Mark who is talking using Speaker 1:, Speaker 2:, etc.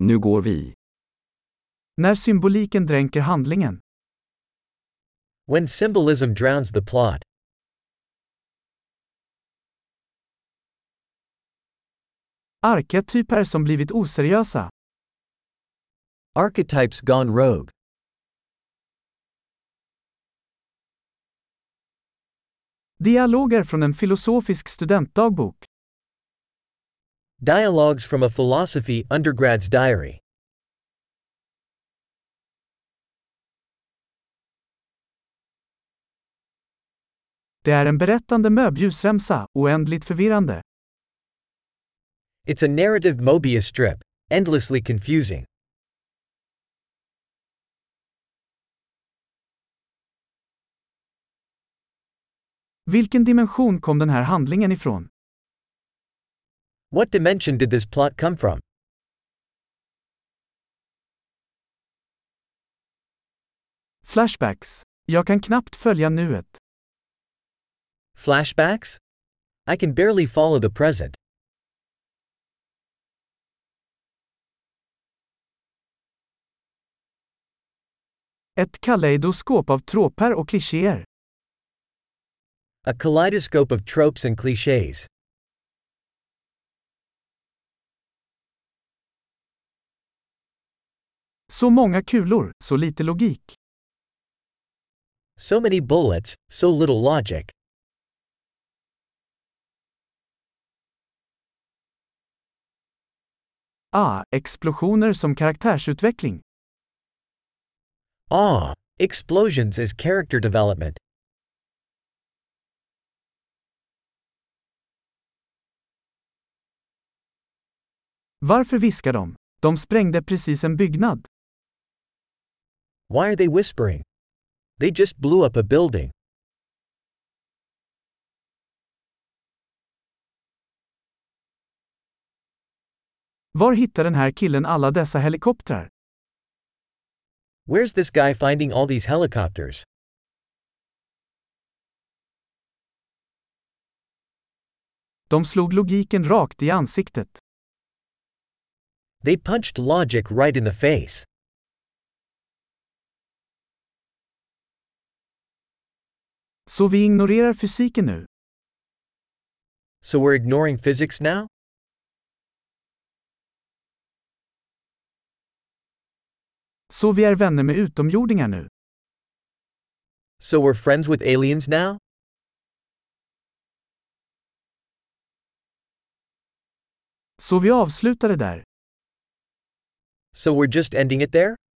Speaker 1: Nu går vi.
Speaker 2: När symboliken dränker handlingen.
Speaker 3: When symbolism drowns the plot.
Speaker 2: Arketyper som blivit oseriösa.
Speaker 3: Archetypes gone rogue.
Speaker 2: Dialoger från en filosofisk studentdagbok.
Speaker 3: Dialogues from a Philosophy Undergrad's Diary.
Speaker 2: Det är en berättande möbljusremsa, oändligt förvirrande.
Speaker 3: It's a narrative Mobius strip, endlessly confusing.
Speaker 2: Vilken dimension kom den här handlingen ifrån?
Speaker 3: What dimension did this plot come from?
Speaker 2: Flashbacks. Jag kan knappt följa nuet.
Speaker 3: Flashbacks? I can barely follow the present.
Speaker 2: Ett kaleidoskop av tråper och klichéer.
Speaker 3: A kaleidoscope of tropes and cliches.
Speaker 2: Så många kulor, så lite logik.
Speaker 3: So many bullets, so little logic.
Speaker 2: Ah, explosioner som karaktärsutveckling.
Speaker 3: Ah, explosions as character development.
Speaker 2: Varför viskar de? De sprängde precis en byggnad.
Speaker 3: Why are they whispering? They just blew up a building.
Speaker 2: Var hittar den här killen alla dessa helikoptrar?
Speaker 3: Where's this guy finding all these helicopters?
Speaker 2: De slog logiken rakt i ansiktet.
Speaker 3: They punched logic right in the face.
Speaker 2: Så vi ignorerar fysiken nu.
Speaker 3: So we're ignoring physics now?
Speaker 2: Så vi är vänner med utomjordingar nu.
Speaker 3: So we're friends with aliens now?
Speaker 2: Så vi avslutar det där.
Speaker 3: So we're just ending it there?